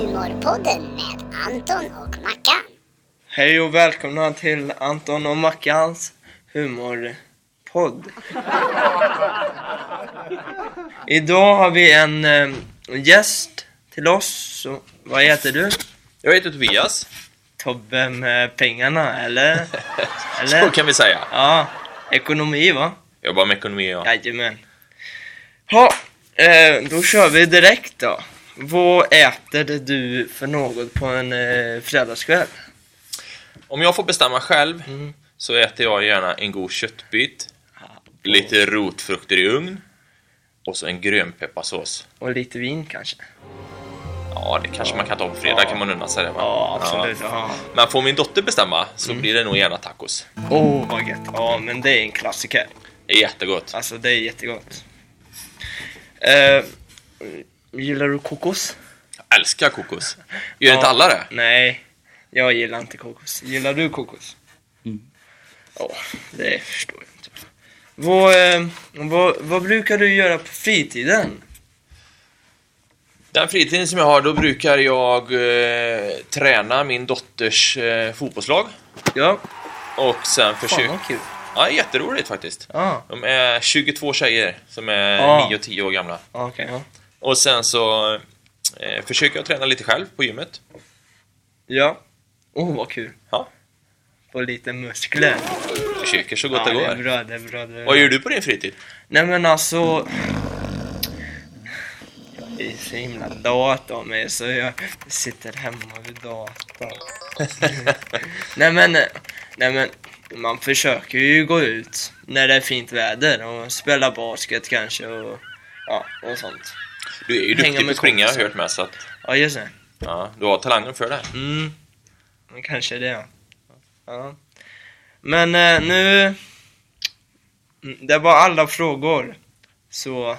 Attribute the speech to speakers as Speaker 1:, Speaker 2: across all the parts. Speaker 1: Fotbollspodden med Anton och Mackan.
Speaker 2: Hej och välkomna till Anton och Mackans humorpodd. Idag har vi en eh, gäst till oss. Så, vad heter du?
Speaker 3: Jag heter Tobias.
Speaker 2: Tobbe med pengarna, eller?
Speaker 3: Så
Speaker 2: eller?
Speaker 3: kan vi säga.
Speaker 2: Ja, ekonomi va?
Speaker 3: Jag jobbar med ekonomi ja.
Speaker 2: Jajamän. Ha, eh, då kör vi direkt då. Vad äter du för något på en eh, fredagskväll?
Speaker 3: Om jag får bestämma själv
Speaker 2: Mm. Ah.
Speaker 3: så äter jag gärna en god köttbit, lite rotfrukter i ugn och så en grönpepparsås.
Speaker 2: Och lite vin kanske?
Speaker 3: Ja, det kanske man kan ta på fredag kan man unna sig det va?
Speaker 2: Ja, absolut. Mm. Ja.
Speaker 3: Ja. Men får min dotter bestämma så blir det nog gärna tacos.
Speaker 2: Åh, vad gött. Ja, men det är en klassiker.
Speaker 3: Det är jättegott.
Speaker 2: Alltså, det är jättegott. Eh, gillar du kokos?
Speaker 3: Jag älskar kokos. Gör inte alla det?
Speaker 2: Nej, jag gillar inte kokos. Gillar du kokos? Ja, det förstår jag inte. Vad, eh, vad, vad brukar du göra på fritiden?
Speaker 3: Den fritiden som jag har, då brukar jag eh, träna min dotters eh, fotbollslag
Speaker 2: Ja,
Speaker 3: och sen
Speaker 2: fan
Speaker 3: försöka...
Speaker 2: vad kul.
Speaker 3: Ja, jätteroligt faktiskt.
Speaker 2: Ja,
Speaker 3: De är 22 tjejer som är
Speaker 2: Ja.
Speaker 3: 9 och 10 år gamla.
Speaker 2: ah, okej. ja.
Speaker 3: Och sen så eh, försöker jag träna lite själv på gymmet.
Speaker 2: ja. Åh, vad kul.
Speaker 3: Ja.
Speaker 2: Få lite muskler.
Speaker 3: Försöker så gott
Speaker 2: Ja,
Speaker 3: det
Speaker 2: det är
Speaker 3: går.
Speaker 2: bra, det är bra. Det är bra.
Speaker 3: Vad gör du på din fritid?
Speaker 2: Nej men alltså... Jag är så himla lat av mig så jag sitter hemma vid datorn. nej men, nej men, man försöker ju gå ut när det är fint väder och spela basket kanske och ja, och sånt.
Speaker 3: Du är ju
Speaker 2: Hänga
Speaker 3: duktig på
Speaker 2: med
Speaker 3: att springa har jag
Speaker 2: kompisar.
Speaker 3: hört med så att
Speaker 2: Ja just det.
Speaker 3: ja, du har talangen för det.
Speaker 2: Mm. Men Kanske det. ja. Ja. Men eh, nu... Mm, Det var alla frågor. Så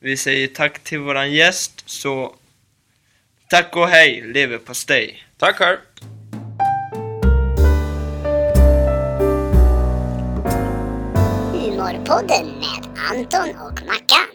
Speaker 2: vi säger tack till våran gäst. Så tack och hej leverpastej.
Speaker 3: Tack själv!
Speaker 1: Humorpodden med Anton och Mackan.